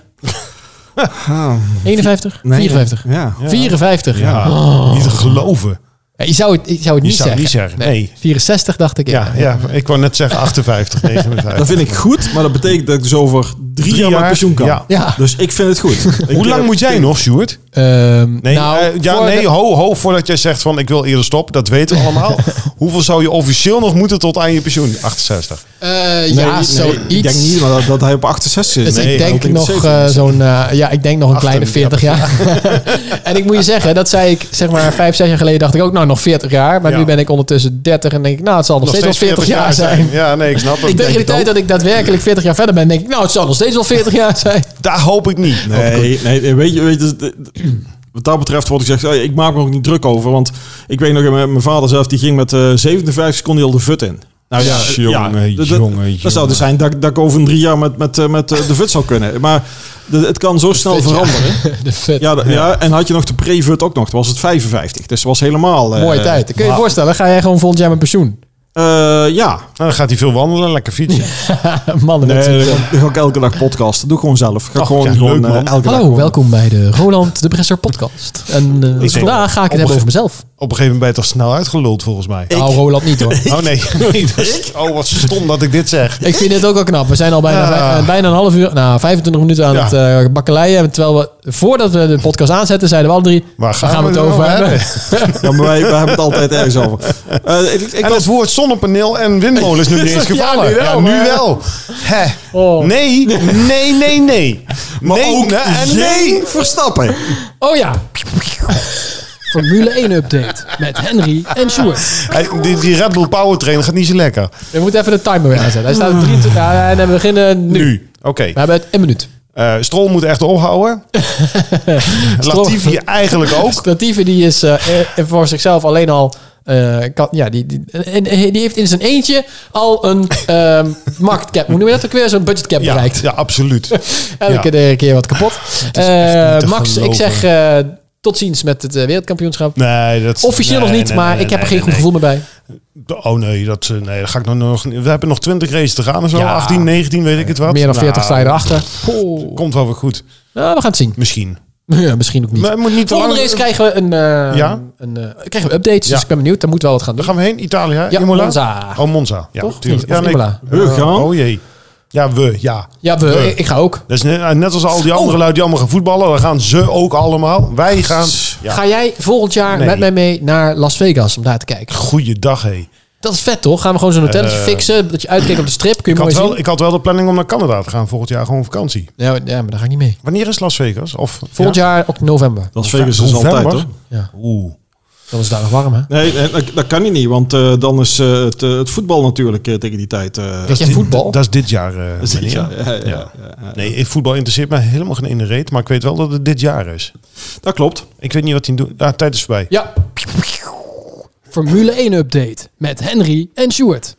Ah, 51? nee, 54? Ja. 54? Ja, niet te geloven. Ja, Je zou het, je zou het Je niet zou het zeggen. niet zeggen. Nee. 64 dacht ik. Ja, ja, ik wou net zeggen 58, 59. Dat vind ik goed, maar dat betekent dat ik dus over drie, Drie jaar met jaar, pensioen kan. ja. Ja. Dus ik vind het goed. Hoe lang moet jij nog, Sjoerd? Ehm, Nee, nou, eh, ja, voor nee de- ho, ho, voordat jij zegt van ik wil eerder stoppen, dat weten we allemaal. Hoeveel zou je officieel nog moeten tot aan je pensioen? 68. eh, ja, zoiets. Ik denk niet maar dat, dat hij op 68 is. Dus ik denk nog eh, zo'n, eh, ja, ik denk nog een kleine 40 jaar. en ik moet je zeggen, dat zei ik zeg maar 5, 6 jaar geleden dacht ik ook, nou nog 40 jaar. Maar Ja. nu ben ik ondertussen 30 en denk ik, nou het zal nog, steeds wel 40, jaar zijn. Ja, nee, ik snap het. Ik denk in de het tijd ook. dat ik daadwerkelijk 40 jaar verder ben, denk ik, nou het zal nog steeds wel 40 jaar zijn. Daar hoop ik niet. Nee, nee, weet je, weet je d- d- wat dat betreft wordt gezegd, eh, ik maak me ook niet druk over. Want ik weet nog, eh, mijn mijn vader zelf, die ging met eh 57 seconden al de fut in. Nou ja, eh, ja, Jongen, dat- dat- jongen, Dat zou dus zijn dat, ik- dat ik over drie jaar met, met, eh, met eh, de fut zou kunnen. Maar de- het kan zo snel fut, ja. veranderen. De vet. Ja, d- ja, en had je nog de pre-fut ook nog, dan was het 55. Dus het was helemaal... eh, Mooie tijd. Dan kun je je maar- voorstellen, dan ga jij gewoon volgend jaar met pensioen. eh, ja, Nou, dan gaat hij veel wandelen, lekker fietsen. Mannen met Nee, z'n- dan doe ik ook elke dag podcast. Doe gewoon zelf. Ga Och, gewoon, ja, gewoon leuk, eh, man. elke dag. Hallo, gewoon. welkom bij de Roland de Bresser podcast. En eh, denk- vandaag ga ik het op- hebben over mezelf. Op een gegeven moment ben je toch snel uitgeluld volgens mij. Nou, Roland niet hoor. Oh nee, nee dat is- oh wat stom dat ik dit zeg. dus- Ik vind dit ook wel knap. We zijn al bijna, Ja. eh, bijna een half uur, nou 25 minuten aan Ja. het eh bakkeleien. En Terwijl we, voordat we de podcast aanzetten, zeiden we al drie, Waar gaan we het we het over over hebben? Ja, maar wij, wij hebben het altijd ergens over. Eh, ik, ik En had- het woord zonnepaneel en windmolen is nu niet eens gevallen. jammer? Ja, nu wel. Hè. Oh. Nee, nee, nee, nee. nee, ook nee, en nee. geen Verstappen. Oh ja. Formule 1 update met Henry en Sjoerd. Hij- die, die Red Bull Power Train gaat niet zo lekker. We moeten even de timer weer aanzetten. Hij staat op 23 ja, en we beginnen nu. Nu. Oké. We hebben het een minuut. Eh, Strol moet echt ophouden. Latifi eigenlijk ook. Statieve die is eh, eh, voor eh, zichzelf alleen al eh, kan, ja, die, die, en eh, die heeft in zijn eentje al een ehm market cap, hoe noem je dat ook weer, zo'n budget cap Ja, bereikt. ja, absoluut. Elke keer wat kapot. is echt Eh, niet te Max, ik geloven. zeg eh, tot ziens met het eh, wereldkampioenschap. Nee, dat, Officieel nee, nog niet, nee, maar nee, ik heb er nee, geen goed nee, gevoel meer bij. nee. Oh nee, dat, eh, nee, dat ga ik nog, nog. We hebben nog 20 races te gaan of zo. Ja. 18, 19, weet ik het wat. Meer dan 40 Nou, sta je erachter. Goh. Komt wel weer goed. Nou, we gaan het zien. Misschien. Ja, misschien ook niet. Maar het moet niet te Volgende lang- race krijgen we een, eh, Ja? een eh, krijgen we updates, Ja. dus ik ben benieuwd. Daar moeten we wel wat gaan Daar doen. gaan we heen. Italië, Ja, Imola? Monza. Oh, Monza. Ja, Toch? natuurlijk. Niet? Of Ja, Imola? We gaan. Oh jee. Ja, we. Ja. Ja, we, Eh. ik, ik ga ook. Dat is net, net als al die andere Oh. lui die allemaal gaan voetballen. Dan gaan ze ook allemaal. Wij gaan... Ja. Ga jij volgend jaar Nee. met mij mee naar Las Vegas om daar te kijken? Goeiedag, hé. Dat is vet, toch? Gaan we gewoon zo'n hotelletje Eh. fixen, dat je uitkijkt op de strip. Kun Ik je mooi had, zien. wel, ik had wel de planning om naar Canada te gaan volgend jaar. Gewoon op vakantie. Ja, maar- ja, maar daar ga ik niet mee. Wanneer is Las Vegas? Of, Volgend jaar, ook november. Las Vegas is November? altijd, hoor. Ja, Oeh. dan is het daar nog warm, hè? Nee, nee, dat, dat kan hij niet, want eh, dan is eh, het, eh, het voetbal natuurlijk eh, tegen die tijd. eh, Weet jij dit- voetbal? Dat is dit jaar, eh, is dit meneer. jaar. Ja, ja, Ja. ja, ja. Nee, ik- voetbal interesseert mij helemaal geen ene reet. Maar ik weet wel dat het dit jaar is. Dat klopt. Ik weet niet wat hij doet. Ah, tijd is voorbij. Ja. Formule 1 update met Henry en Stuart.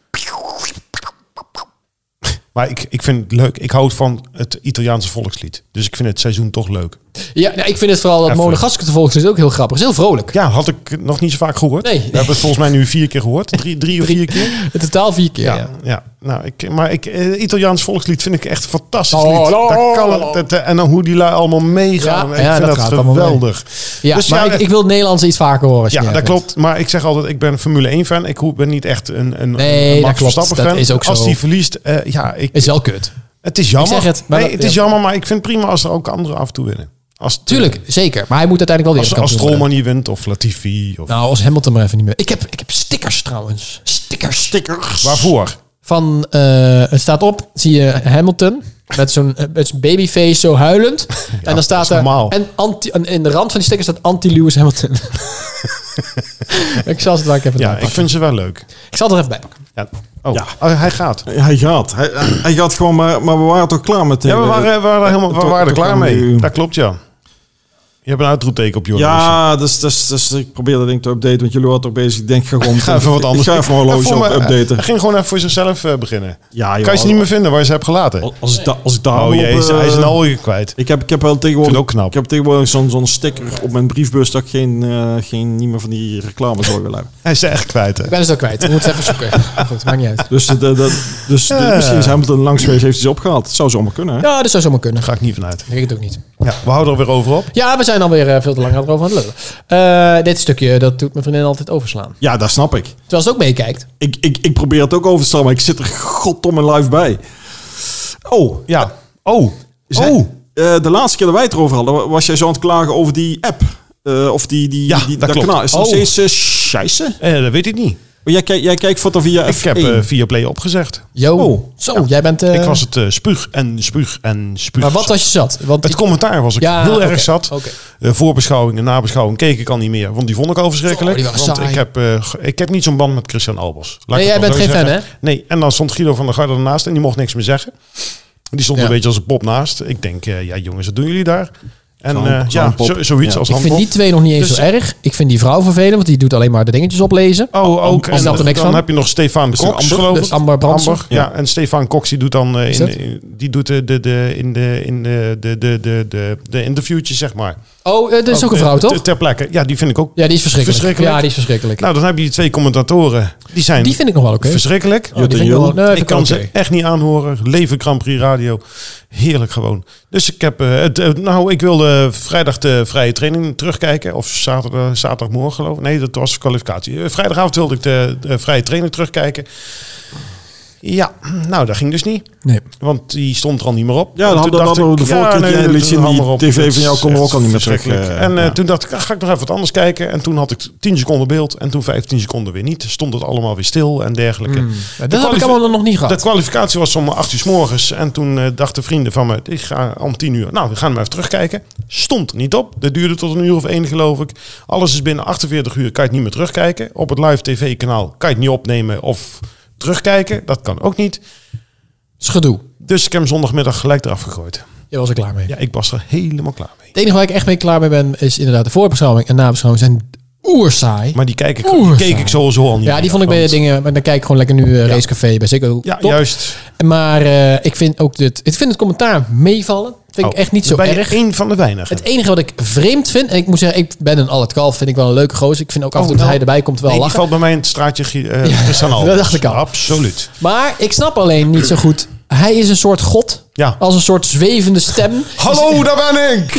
Maar ik, ik vind het leuk. Ik hou van het Italiaanse volkslied. Dus ik vind het seizoen toch leuk. Ja, nou, ik vind het vooral dat Even. Monegasker te volgen is ook heel grappig. Het is heel vrolijk. Ja, had ik nog niet zo vaak gehoord. Nee. We hebben het volgens mij nu vier keer gehoord. Drie, drie of vier keer. In totaal vier keer. Ja, ja. ja. Nou, ik, maar ik, eh, Italiaans volkslied vind ik echt een fantastisch Oh, lied. oh, Dat kan, oh. dat, eh, en dan hoe die lui allemaal meegaan. Ja, ik ja, vind dat dat, gaat allemaal mee. geweldig. Ja, Dus maar ja, ik, ik wil het Nederlands iets vaker horen. als je Ja, niet dat erg bent. klopt. Maar ik zeg altijd, ik ben een Formule 1 fan. Ik ben niet echt een, een, Nee, een dat Max klopt. Verstappen Dat fan. is ook als zo. die verliest, eh, ja, ik, Is wel kut. het is jammer. Ik zeg het, maar nee, dat- het is ja. jammer, maar ik vind het prima als er ook anderen af en toe winnen. Als, Tuurlijk, zeker. Maar hij moet uiteindelijk wel weer Als, als wereldkampioen Strolman worden. niet wint of Latifi. Of, Nou, als Hamilton maar even niet meer. Ik heb, ik heb stickers trouwens. Stickers. Stickers. Waarvoor? Van, eh, het staat op, zie je Hamilton met zo'n eh, met zo'n babyface zo huilend. en dan staat is er, normaal. en, anti, en in de rand van die stickers staat anti-Lewis Hamilton. ik zal ze daar even bij Ja, pakken. ik vind ze wel leuk. ik zal het er even bij pakken. Ja. Oh, Ja. oh, hij gaat. Hij gaat. Hij, hij gaat gewoon, maar, maar we waren toch klaar met... de- Ja, we waren, we waren, helemaal, we Toch- waren er toch klaar aan mee. die- Dat klopt, ja. Je hebt een uitroepteken op je horloge. Ja, dus, dus, dus ik probeer dat ding te updaten, want jullie waren toch bezig. Ik denk, ik ga gewoon... Ga even wat anders. Ik ga even mijn Ja, horloge voor op me- updaten. Hij ging gewoon even voor zichzelf eh, beginnen. Ja, joh, Oh, kan je ze niet meer vinden waar je ze hebt gelaten? Als, als, ik, da- als ik daar Oh wel op, jee, ze- hij is eh, een alweer kwijt. Ik heb, ik heb wel Ik tegenwoordig vind het ook knap. Ik heb tegenwoordig zo'n zo'n sticker op mijn briefbus dat ik geen, eh, geen, niet meer van die reclames hoor wil hebben. Hij is ze echt kwijt, hè? Ik ben dus al kwijt. We moeten het even zoeken. Maar Goed, maakt niet uit. Dus, de, de- dus de- misschien is Hamilton langs geweest, heeft hij ze opgehaald. Het zou zomaar kunnen, hè? Ja, dat zou zomaar kunnen. Daar ga ik niet vanuit. Ik weet het ook niet. Ja, we houden er weer over op. Ja, we zijn alweer eh, veel te lang over aan het lullen. Eh, dit stukje, dat doet mijn vriendin altijd overslaan. Ja, dat snap ik. Terwijl ze ook meekijkt. Ik, ik. ik probeer het ook over te staan, maar ik zit er goddomme live bij. Oh, Ja. Oh. zij- oh. eh, de laatste keer dat wij het erover hadden, was jij zo aan het klagen over die app. Eh, of die, die, Ja, die dat klopt. kanaal. Is Oh. dat nog steeds eh, scheisse? Eh, dat weet ik niet. Maar Jij, kijkt- jij kijkt foto via Ik heb F1. eh via Play opgezegd. Yo. Oh. Zo, jij bent... eh, ik was het eh, spuug en spuug en spuug. Maar wat als je zat? Want Dus Het commentaar was ik Ja, heel oké, erg zat. oké. De voorbeschouwing en nabeschouwing keek ik al niet meer. Want die vond ik al verschrikkelijk. Zo, Oh, die waren want saai. ik heb, eh, ge- ik heb niet zo'n band met Christian Albers. Laat Nee, ik jij het maar bent zo geen fan, zeggen. Nee, en dan stond Guido van der Garde ernaast en die mocht niks meer zeggen. Die stond Ja. een beetje als een pop naast. Ik denk, eh, ja jongens, wat doen jullie daar? En Zo'n- eh, zo'n ja, pop. zo- zoiets Ja. als ik vind handpop. die twee nog niet eens Dus- zo erg. Ik vind die vrouw vervelend, want die doet alleen maar de dingetjes oplezen. Oh, ook. En, snapt er dan niks van. heb je nog Stefan het Cox, Amber? geloof Dus ik. Amber Brandsen? ja. en Stefan Cox die doet dan eh, Is in, dat? in- die doet de, de, de, in de, in de, de, de, de, de, de interviewtjes, zeg maar. Oh, eh, dat is ook een vrouw, Ah. Eh, toch? Ter, ter plekke. Ja, die vind ik ook. Ja, die is verschrikkelijk. Verschrikkelijk? Ja, die is verschrikkelijk. Nou, dan heb je die twee commentatoren. Die zijn die vind ik nog wel oké. verschrikkelijk. Oh, die vind ik Jutta nog wel- nee, ik vind kan ik ze oké. echt niet aanhoren. Leven Grand Prix Radio. Heerlijk gewoon. Dus ik heb... eh, het, eh, nou, ik wilde vrijdag de vrije training terugkijken. Of zaterdag, zaterdagmorgen geloof ik. Nee, dat was kwalificatie. Eh, Vrijdagavond wilde ik de, de vrije training terugkijken. Ja, nou, dat ging dus niet. Nee. Want die stond er al niet meer op. Ja, En dat toen hadden- dacht hadden we ik, de vorige keer die dat liet is zien, die allemaal op. TV van Dat is jou kon er ook al niet meer echt terug, eh, verschrikkelijk. en eh, ja. toen dacht ik, ah, ga ik nog even wat anders kijken. En toen had ik 10 seconden beeld en toen 15 seconden weer niet. Stond het allemaal weer stil en dergelijke. Hmm. Maar De dat heb ik kwalifi- allemaal nog niet De gehad. kwalificatie was om 8 uur s morgens. En toen eh, dachten vrienden van me, ik ga om 10 uur. Nou, we gaan hem even terugkijken. Stond er niet op. Dat duurde tot een uur of één, geloof ik. Alles is binnen 48 uur, kan je het niet meer terugkijken. Op het live tv-kanaal kan je het niet opnemen of terugkijken. Dat kan ook niet. Dat is gedoe. Dus ik heb hem zondagmiddag gelijk eraf gegooid. Daar was ik klaar mee. Ja, ik was er helemaal klaar mee. Het enige waar ik echt mee klaar mee ben, is inderdaad de voorbeschouwing en nabeschouwing zijn oersaai. Maar die kijk ik, Oeh, die keek saai. ik sowieso al niet. Ja, die meer, vond ik bij de want- dingen... Maar dan kijk ik gewoon lekker nu eh, racecafé bij Ziggo. Ja, Top. juist. Maar eh, ik vind ook dit... Ik vind het commentaar meevallen. vind ik Oh, echt niet zo dan ben je erg. één van de weinigen. Het enige wat ik vreemd vind... En ik moet zeggen, ik ben een Al het Kalf. Vind ik wel een leuke gozer. Ik vind ook af en Oh, toe dat nou. hij erbij komt wel Nee, die lachen. valt bij mij in het straatje eh Christian Albers. dat dacht ik al. Absoluut. Maar ik snap alleen niet zo goed... Hij is een soort god. Ja. Als een soort zwevende stem. Hallo, Dus- daar ben ik!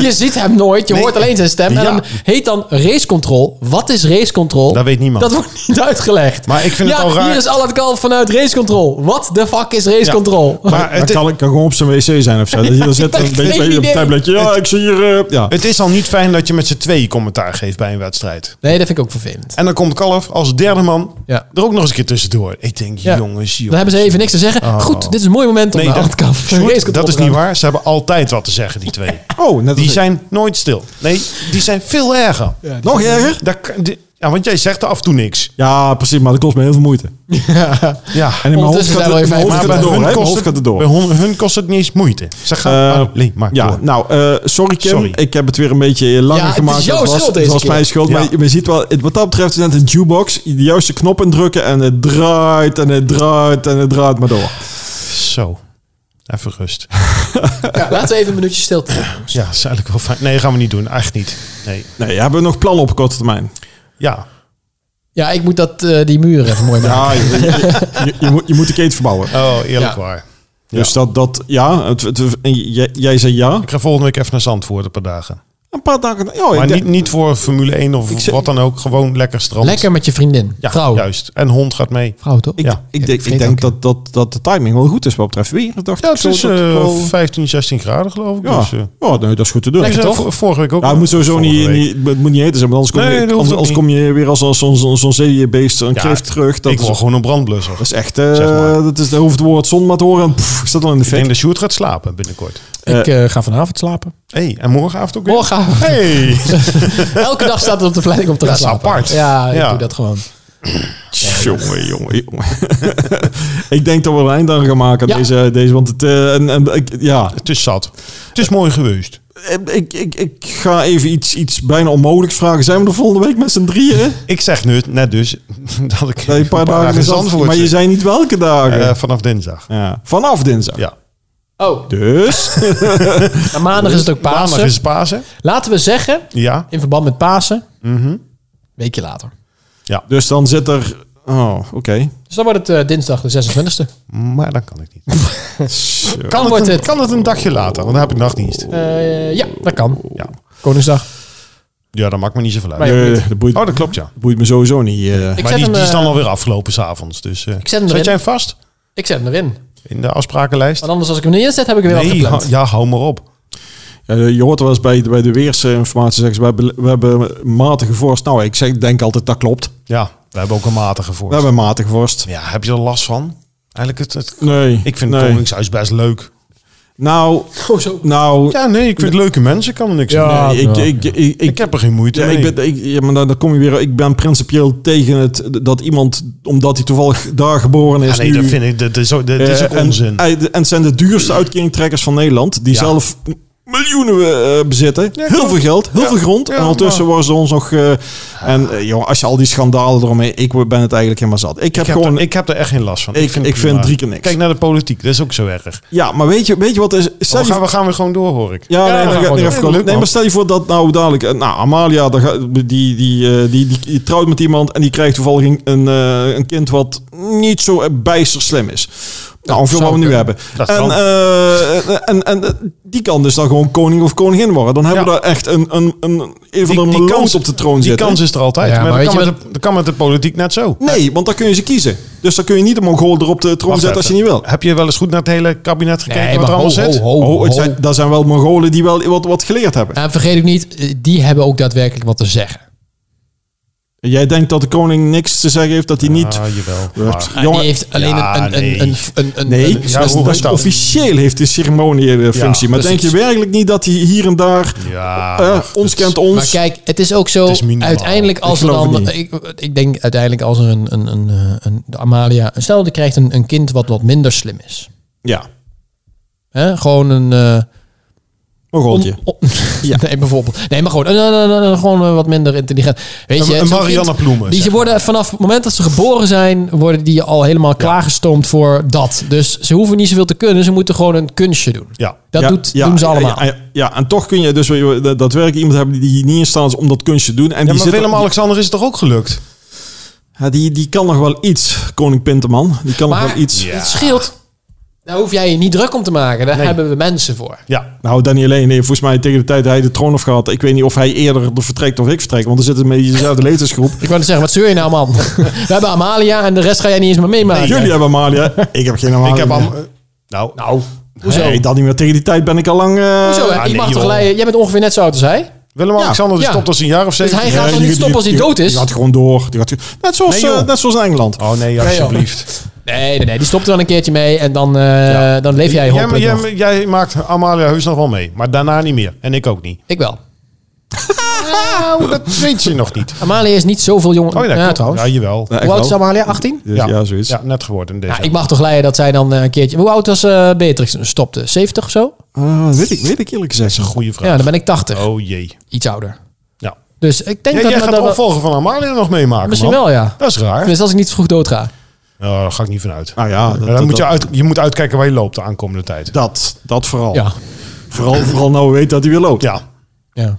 Je ziet hem nooit, je Nee. hoort alleen zijn stem. En Ja. dan heet dan race control. Wat is race control? Dat weet niemand. Dat wordt niet uitgelegd. Maar ik vind ja, het al raar. hier is al het kalf vanuit race control. What the fuck is race Ja. control? Maar Het het, kan, kan gewoon op zijn wc zijn of zo. Dat je dan zit ik een heb beetje geen bij idee. een tabletje. Ja, ik zie hier... eh, ja. het is al niet fijn dat je met z'n tweeën commentaar geeft bij een wedstrijd. Nee, dat vind ik ook vervelend. En dan komt Kalf als derde man Ja. er ook nog eens een keer tussendoor. Ik denk, Ja. jongens, Dan jongens. Oh. hebben ze even niks te zeggen. Goed, dit is een mooi moment om Nee, naar dat- al het kalf Sjoerd, race control dat is te gaan. niet waar. Ze hebben altijd wat te zeggen, die twee. Oh, net als Die ik. zijn nooit stil. Nee, die zijn veel erger. Nog erger? Daar kan- die- ja, want jij zegt er af en toe niks. Ja, precies. Maar dat kost me heel veel moeite. En Ja. in mijn hoofd Ondertussen gaat zijn we het- even mijn hoofd even- gaat bij het door. hè. hun Mijn kost hoofd het- gaat het door. bij hun- hun kost het niet eens moeite. Ze gaan Ah, Eh, alleen maar Ja, door. nou, eh, sorry Kim. Sorry. Ik heb het weer een beetje langer Ja, het is gemaakt. jouw was, schuld het deze was keer. mijn schuld. Ja. Maar je, je ziet wel, het- wat dat betreft is het net een jukebox. Je De juiste knoppen drukken en het draait en het draait en het draait maar door. Zo. Even rust. Ja, laten we even een minuutje stilte doen. Ja, dat is eigenlijk wel fijn. Nee, gaan we niet doen. Echt niet. Nee. Nee, hebben we nog plannen op korte termijn? Ja. Ja, ik moet dat, eh, die muren even mooi maken. Ja, je, je- je- je moet, je moet de keten verbouwen. Oh, eerlijk Ja. waar. Dus dat, dat ja, het, het- en jij, jij zei ja. Ik ga volgende week even naar Zandvoort een paar dagen. Een paar dagen. Ja, Maar ik niet, denk- niet voor Formule 1 Ik of zeg- wat dan ook. Gewoon lekker strand. Lekker met je vriendin. Ja, Vrouw. juist. En hond gaat mee. Vrouw, toch? ik, ja. ik, Ik denk, ik vergeet denk ook. dat, dat, dat de timing wel goed is wat betreft weer. Dat dacht Ja, ik het zo, is dat het eh, wel- 15, 16 graden geloof ik. ja. Dus, eh, ja, nee, dat is goed te doen. ik zei toch? vor- Vorige week ook. Ja, het moet Nou, sowieso Vorige niet, week. niet, het moet niet eten zijn, want anders, Nee, kom, dat je, hoeft anders, ook anders kom je weer als, als zo'n zo'n zo'n zeebeest een Ja, kreeft terug. Dat ik wil is, gewoon een brandblusser. dat is echt, eh, zeg maar. dat is, daar hoeft het woord zon maar te horen. En pff, ik zat al in de Ik denk vet. dat Sjoerd gaat slapen binnenkort. Ik eh, ga vanavond slapen. hey, en morgenavond ook weer? Morgenavond. Hey. Elke dag staat het op de planning om te Dat gaan is slapen. apart. Ja, ik Ja. doe dat gewoon. Jongen, jongen, jongen. ik denk dat we een eind aan gaan maken aan Ja. deze, deze, want het, eh, en, en, ik, ja, Het is zat. Het is mooi geweest. ik, ik, ik ga even iets, iets bijna onmogelijks vragen. Zijn we de volgende week met z'n drieën? Ik zeg nu, net dus dat ik Nee, een paar dagen in Zandvoort. Maar je zit. zei niet welke dagen. Eh, vanaf dinsdag. ja. Vanaf dinsdag. Ja. Oh, Dus, maar maandag is het ook Pasen. Maandag is Pasen. Laten we zeggen, Ja. in verband met Pasen, Mhm. weekje later. dus dan zit er... Oh, oké. Dus dan wordt het eh, dinsdag de 26e. Maar dan kan ik niet. Zo. Kan Kan wordt het, een, het. kan het een dagje later? Want dan heb ik nachtdienst. Eh, ja, dat kan. Ja. Koningsdag. Ja, dat maakt me niet zoveel uit. Maar ja, Nee, boeit. Eh, dat boeit, Oh, dat klopt ja. boeit me sowieso niet. eh. Ik maar zet die, hem, die is dan eh, alweer afgelopen s'avonds. Dus, eh zet hem zet erin. jij hem vast Ik zet hem erin. in de afsprakenlijst? Want anders als ik hem niet inzet, heb ik hem weer Nee, afgepland. ha- ja, hou maar op. Ja, je hoort wel eens bij, bij de weersinformatie zeggen ze, we hebben, we hebben matige vorst. Nou, ik zeg, denk altijd dat klopt. Ja, we hebben ook een matige We voor. hebben matige vorst. Ja, heb je er last van? Eigenlijk het... het Nee. ik vind nee. het Koningshuis best leuk. Nou, Oh, zo. nou... Ja, nee, ik vind leuke mensen. Ik kan er niks Ja. aan. nee, ik, ja. ik, ik, ik, Ik heb er geen moeite ja, mee. ik ben, ik, ja, maar dan, dan kom je weer. Ik ben principieel tegen het dat iemand, omdat hij toevallig daar geboren is, ja, Ah, nee, nu dat vind ik... Dat is ook, dat is Eh, ook en- onzin. eh, de- En, het zijn de duurste uitkeringtrekkers van Nederland. Die Ja. zelf miljoenen eh, bezitten. heel klopt. veel geld, heel Ja. veel grond. Ja, en ondertussen worden ze ons nog... eh, en eh, joh, als je al die schandalen eromheen... Ik ben het eigenlijk helemaal zat. Ik, heb Ik heb, gewoon... er, ik heb er echt geen last van. Ik- ik het prima. vind drie keer niks. Kijk naar de politiek, dat is ook zo erg. ja, maar weet je, weet je wat is... Stel We je Oh, gaan, we gaan weer gewoon door, hoor ik. Ja, Ja, nee, we dan gaan ga- gewoon nee, door. even- Ja, leuk, nee, man. maar stel je voor dat nou dadelijk... eh, Nou, Amalia, dan ga- die, die, eh, die, die, die trouwt met iemand... en die krijgt toevallig een, een, eh, een kind wat niet zo eh, bijster slim is. Nou, ongeveer wat we zou nu kunnen. hebben. Dat en, kan. eh, en, en eh, die kan dus dan gewoon koning of koningin worden. Dan hebben we daar echt een, een, een, een van de Die- die meloot kans- op de troon Die zitten. kans is er altijd. maar Ja, maar dat weet kan, je met de, dat kan met de politiek net zo. Nee, want dan kun je ze kiezen. Dus dan kun je niet de Mongool erop de troon Wacht zetten als je even. niet wil. Heb je wel eens goed naar het hele kabinet gekeken Nee, wat maar er ho, allemaal ho, zit? ho, Oh, het ho. zijn, daar zijn wel Mongolen die wel wat, wat geleerd hebben. En vergeet ook niet, eh, die hebben ook daadwerkelijk wat te zeggen. Jij denkt dat de koning niks te zeggen heeft, dat hij niet... Ah, jawel. Ja, Maar- Ah, jongen, die heeft alleen ja, een, een, nee. een, een, een, een- Nee, een- Eh, ja, dat is- hoe dat is is dat? officieel heeft de ceremoniefunctie. Ja, maar denk precies. je werkelijk niet dat hij hier en daar... Ja, eh, maar ons dat- kent ons. Maar kijk, het is ook zo. is minimaal. uiteindelijk als Ik er geloof het dan. niet. Ik, ik denk uiteindelijk als er een, een, een, eh, een de Amalia. Stel, die krijgt een, een kind wat wat minder slim is. Ja. Hè? Gewoon een. eh, Mogoltje. Om- om- Nee, bijvoorbeeld. Nee, maar goed. eh, eh, eh, eh, gewoon eh, wat minder intelligent. Weet je, Een, een zo'n Marianne kind, Ploemen. Die zeg ze worden vanaf het moment dat ze geboren zijn, worden die al helemaal klaargestoomd voor dat. Dus ze hoeven niet zoveel te kunnen. Ze moeten gewoon een kunstje doen. maar. Ja. Dat Ja, doet, ja, doen ze ja, allemaal. Ja, ja, ja, en toch kun je dus weer dat- daadwerkelijk iemand hebben die niet in staat is om dat kunstje te doen. En Ja, die, maar zit er- Willem-Alexander is het toch ook gelukt? ja, die, die kan nog wel iets, koning Pinterman. Die kan nog Maar wel iets. Ja. het scheelt. Daar hoef jij je niet druk om te maken. Daar hebben we mensen voor. Ja. Nou, Danny alleen, nee, volgens mij tegen de tijd dat hij de troon heeft gehad. Ik weet niet of hij eerder vertrekt of ik vertrek, want er zit een beetje dezelfde leeftijdsgroep. Ik wou net zeggen, wat zeur je nou man? we hebben Amalia en de rest ga jij niet eens meer meemaken. Jullie hebben Amalia. Ik heb geen Amalia. Ik heb meer. al... Nou, Nou, hoezo? Nee, dat niet meer. Tegen die tijd ben ik al lang. eh, hoezo? ah, je mag nee, toch joh. leiden? Jij bent ongeveer net zo oud als hij. Willem-Alexander die Ja. Dus stopt als een jaar of zeven. hij ja, gaat toch die- niet die- stoppen als hij die- dood is? Die gaat gewoon door. Die gaat, net, zoals, Nee, joh. eh, net zoals in Engeland. Oh nee, Nee, joh. alsjeblieft. Nee, nee, nee. Die stopt er dan een keertje mee en dan, eh, dan leef jij Jij, hopelijk jij, nog. jij maakt Amalia heus nog wel mee, maar daarna niet meer. En ik ook niet. Ik wel. Nou, dat weet je nog niet. Amalia is niet zoveel jonger. Oh ja, ja, klopt. trouwens. Ja, jawel. Ja, echt Hoe oud is wel. Amalia? 18? Dus, ja. zoiets. Ja, net geworden. Deze. Ja, ik mag toch leiden dat zij dan eh, een keertje... Hoe oud was eh, Beatrix toen ze stopte? 70 of zo? Ah, weet, ik, weet ik eerlijk gezegd. Dat is een goede vraag. Ja, dan ben ik 80. Oh jee. Iets ouder. Ja. Dus ik denk Jij, dat... jij dat- gaat dat- de opvolger van Amalia nog meemaken, Misschien man. wel, ja. Dat is raar. Tenminste, als ik niet vroeg dood ga. Nou, daar ga ik niet vanuit. Nou ja, dat, Dan dat- moet je, uit, je moet uitkijken waar je loopt de aankomende tijd. dat, dat vooral. Ja. Vooral, vooral nou weet dat hij weer loopt. Ja. Ja.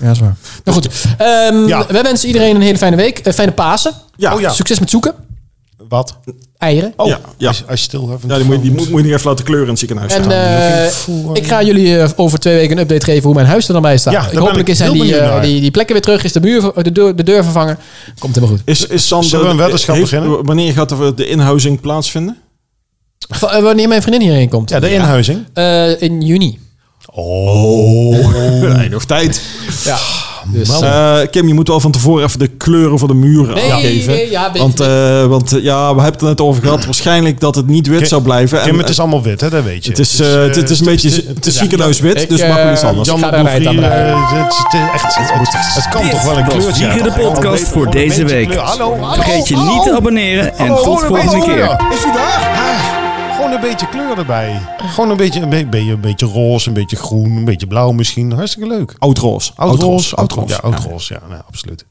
Ja, is waar. Nou goed. Ehm, Ja. Wij wensen iedereen een hele fijne week. Eh, fijne Pasen. Ja. Oh ja. Succes met zoeken. Wat? Eieren. Oh, Ja, ja. Als, als je stil hebt. Ja, die moet, die moet, moet je niet even laten kleuren in het ziekenhuis. En staan. eh, voel- ik ga jullie eh, over twee weken een update geven hoe mijn huis er dan bij staat. Ja, daar ik ben hopelijk ik is zijn heel die, benieuwd eh, naar. die, die plekken weer terug. Is de, muur, de, deur, de deur vervangen. Komt helemaal goed. is, is Sander, Zullen we een weddenschap heeft- beginnen? Wanneer gaat de, de inhuizing plaatsvinden? Va- eh, wanneer mijn vriendin hierheen komt? Ja, de inhuizing. Eh, in juni. Oh. Nee, nog tijd. Ja. Dus, Eh, Kim, je moet wel van tevoren even de kleuren van de muren Nee, aangeven. nee, ja, weet- want eh, want eh, ja, we hebben het er net over gehad. Waarschijnlijk dat het niet wit Kim- zou blijven. En, Kim, het is allemaal wit, hè? Dat weet je. het is, eh, het- het is een beetje dus, het is- het is ziekenhuiswit, Ik, dus maak wel iets eh, anders. Jan- Jan Ga de daar Bouvrie, rijden, daar eh, het is- het is echt... Het, het kan Dit toch wel een was kleurtje. Vliegen de hebben? podcast voor Gewoon een deze beetje week. kleur. Hallo, hallo, Vergeet je hallo. niet te abonneren en Hallo, tot gewoon een volgende beetje keer. kleur. Is u daar? Ah, Gewoon een beetje kleur erbij. Gewoon een beetje, een be- be- een beetje roze, een beetje groen, een beetje blauw misschien. Hartstikke leuk. Oud-roos. Oud roze, oud Oud-roos. roze. Ja, Ja. oud roze. Ja, nou, absoluut.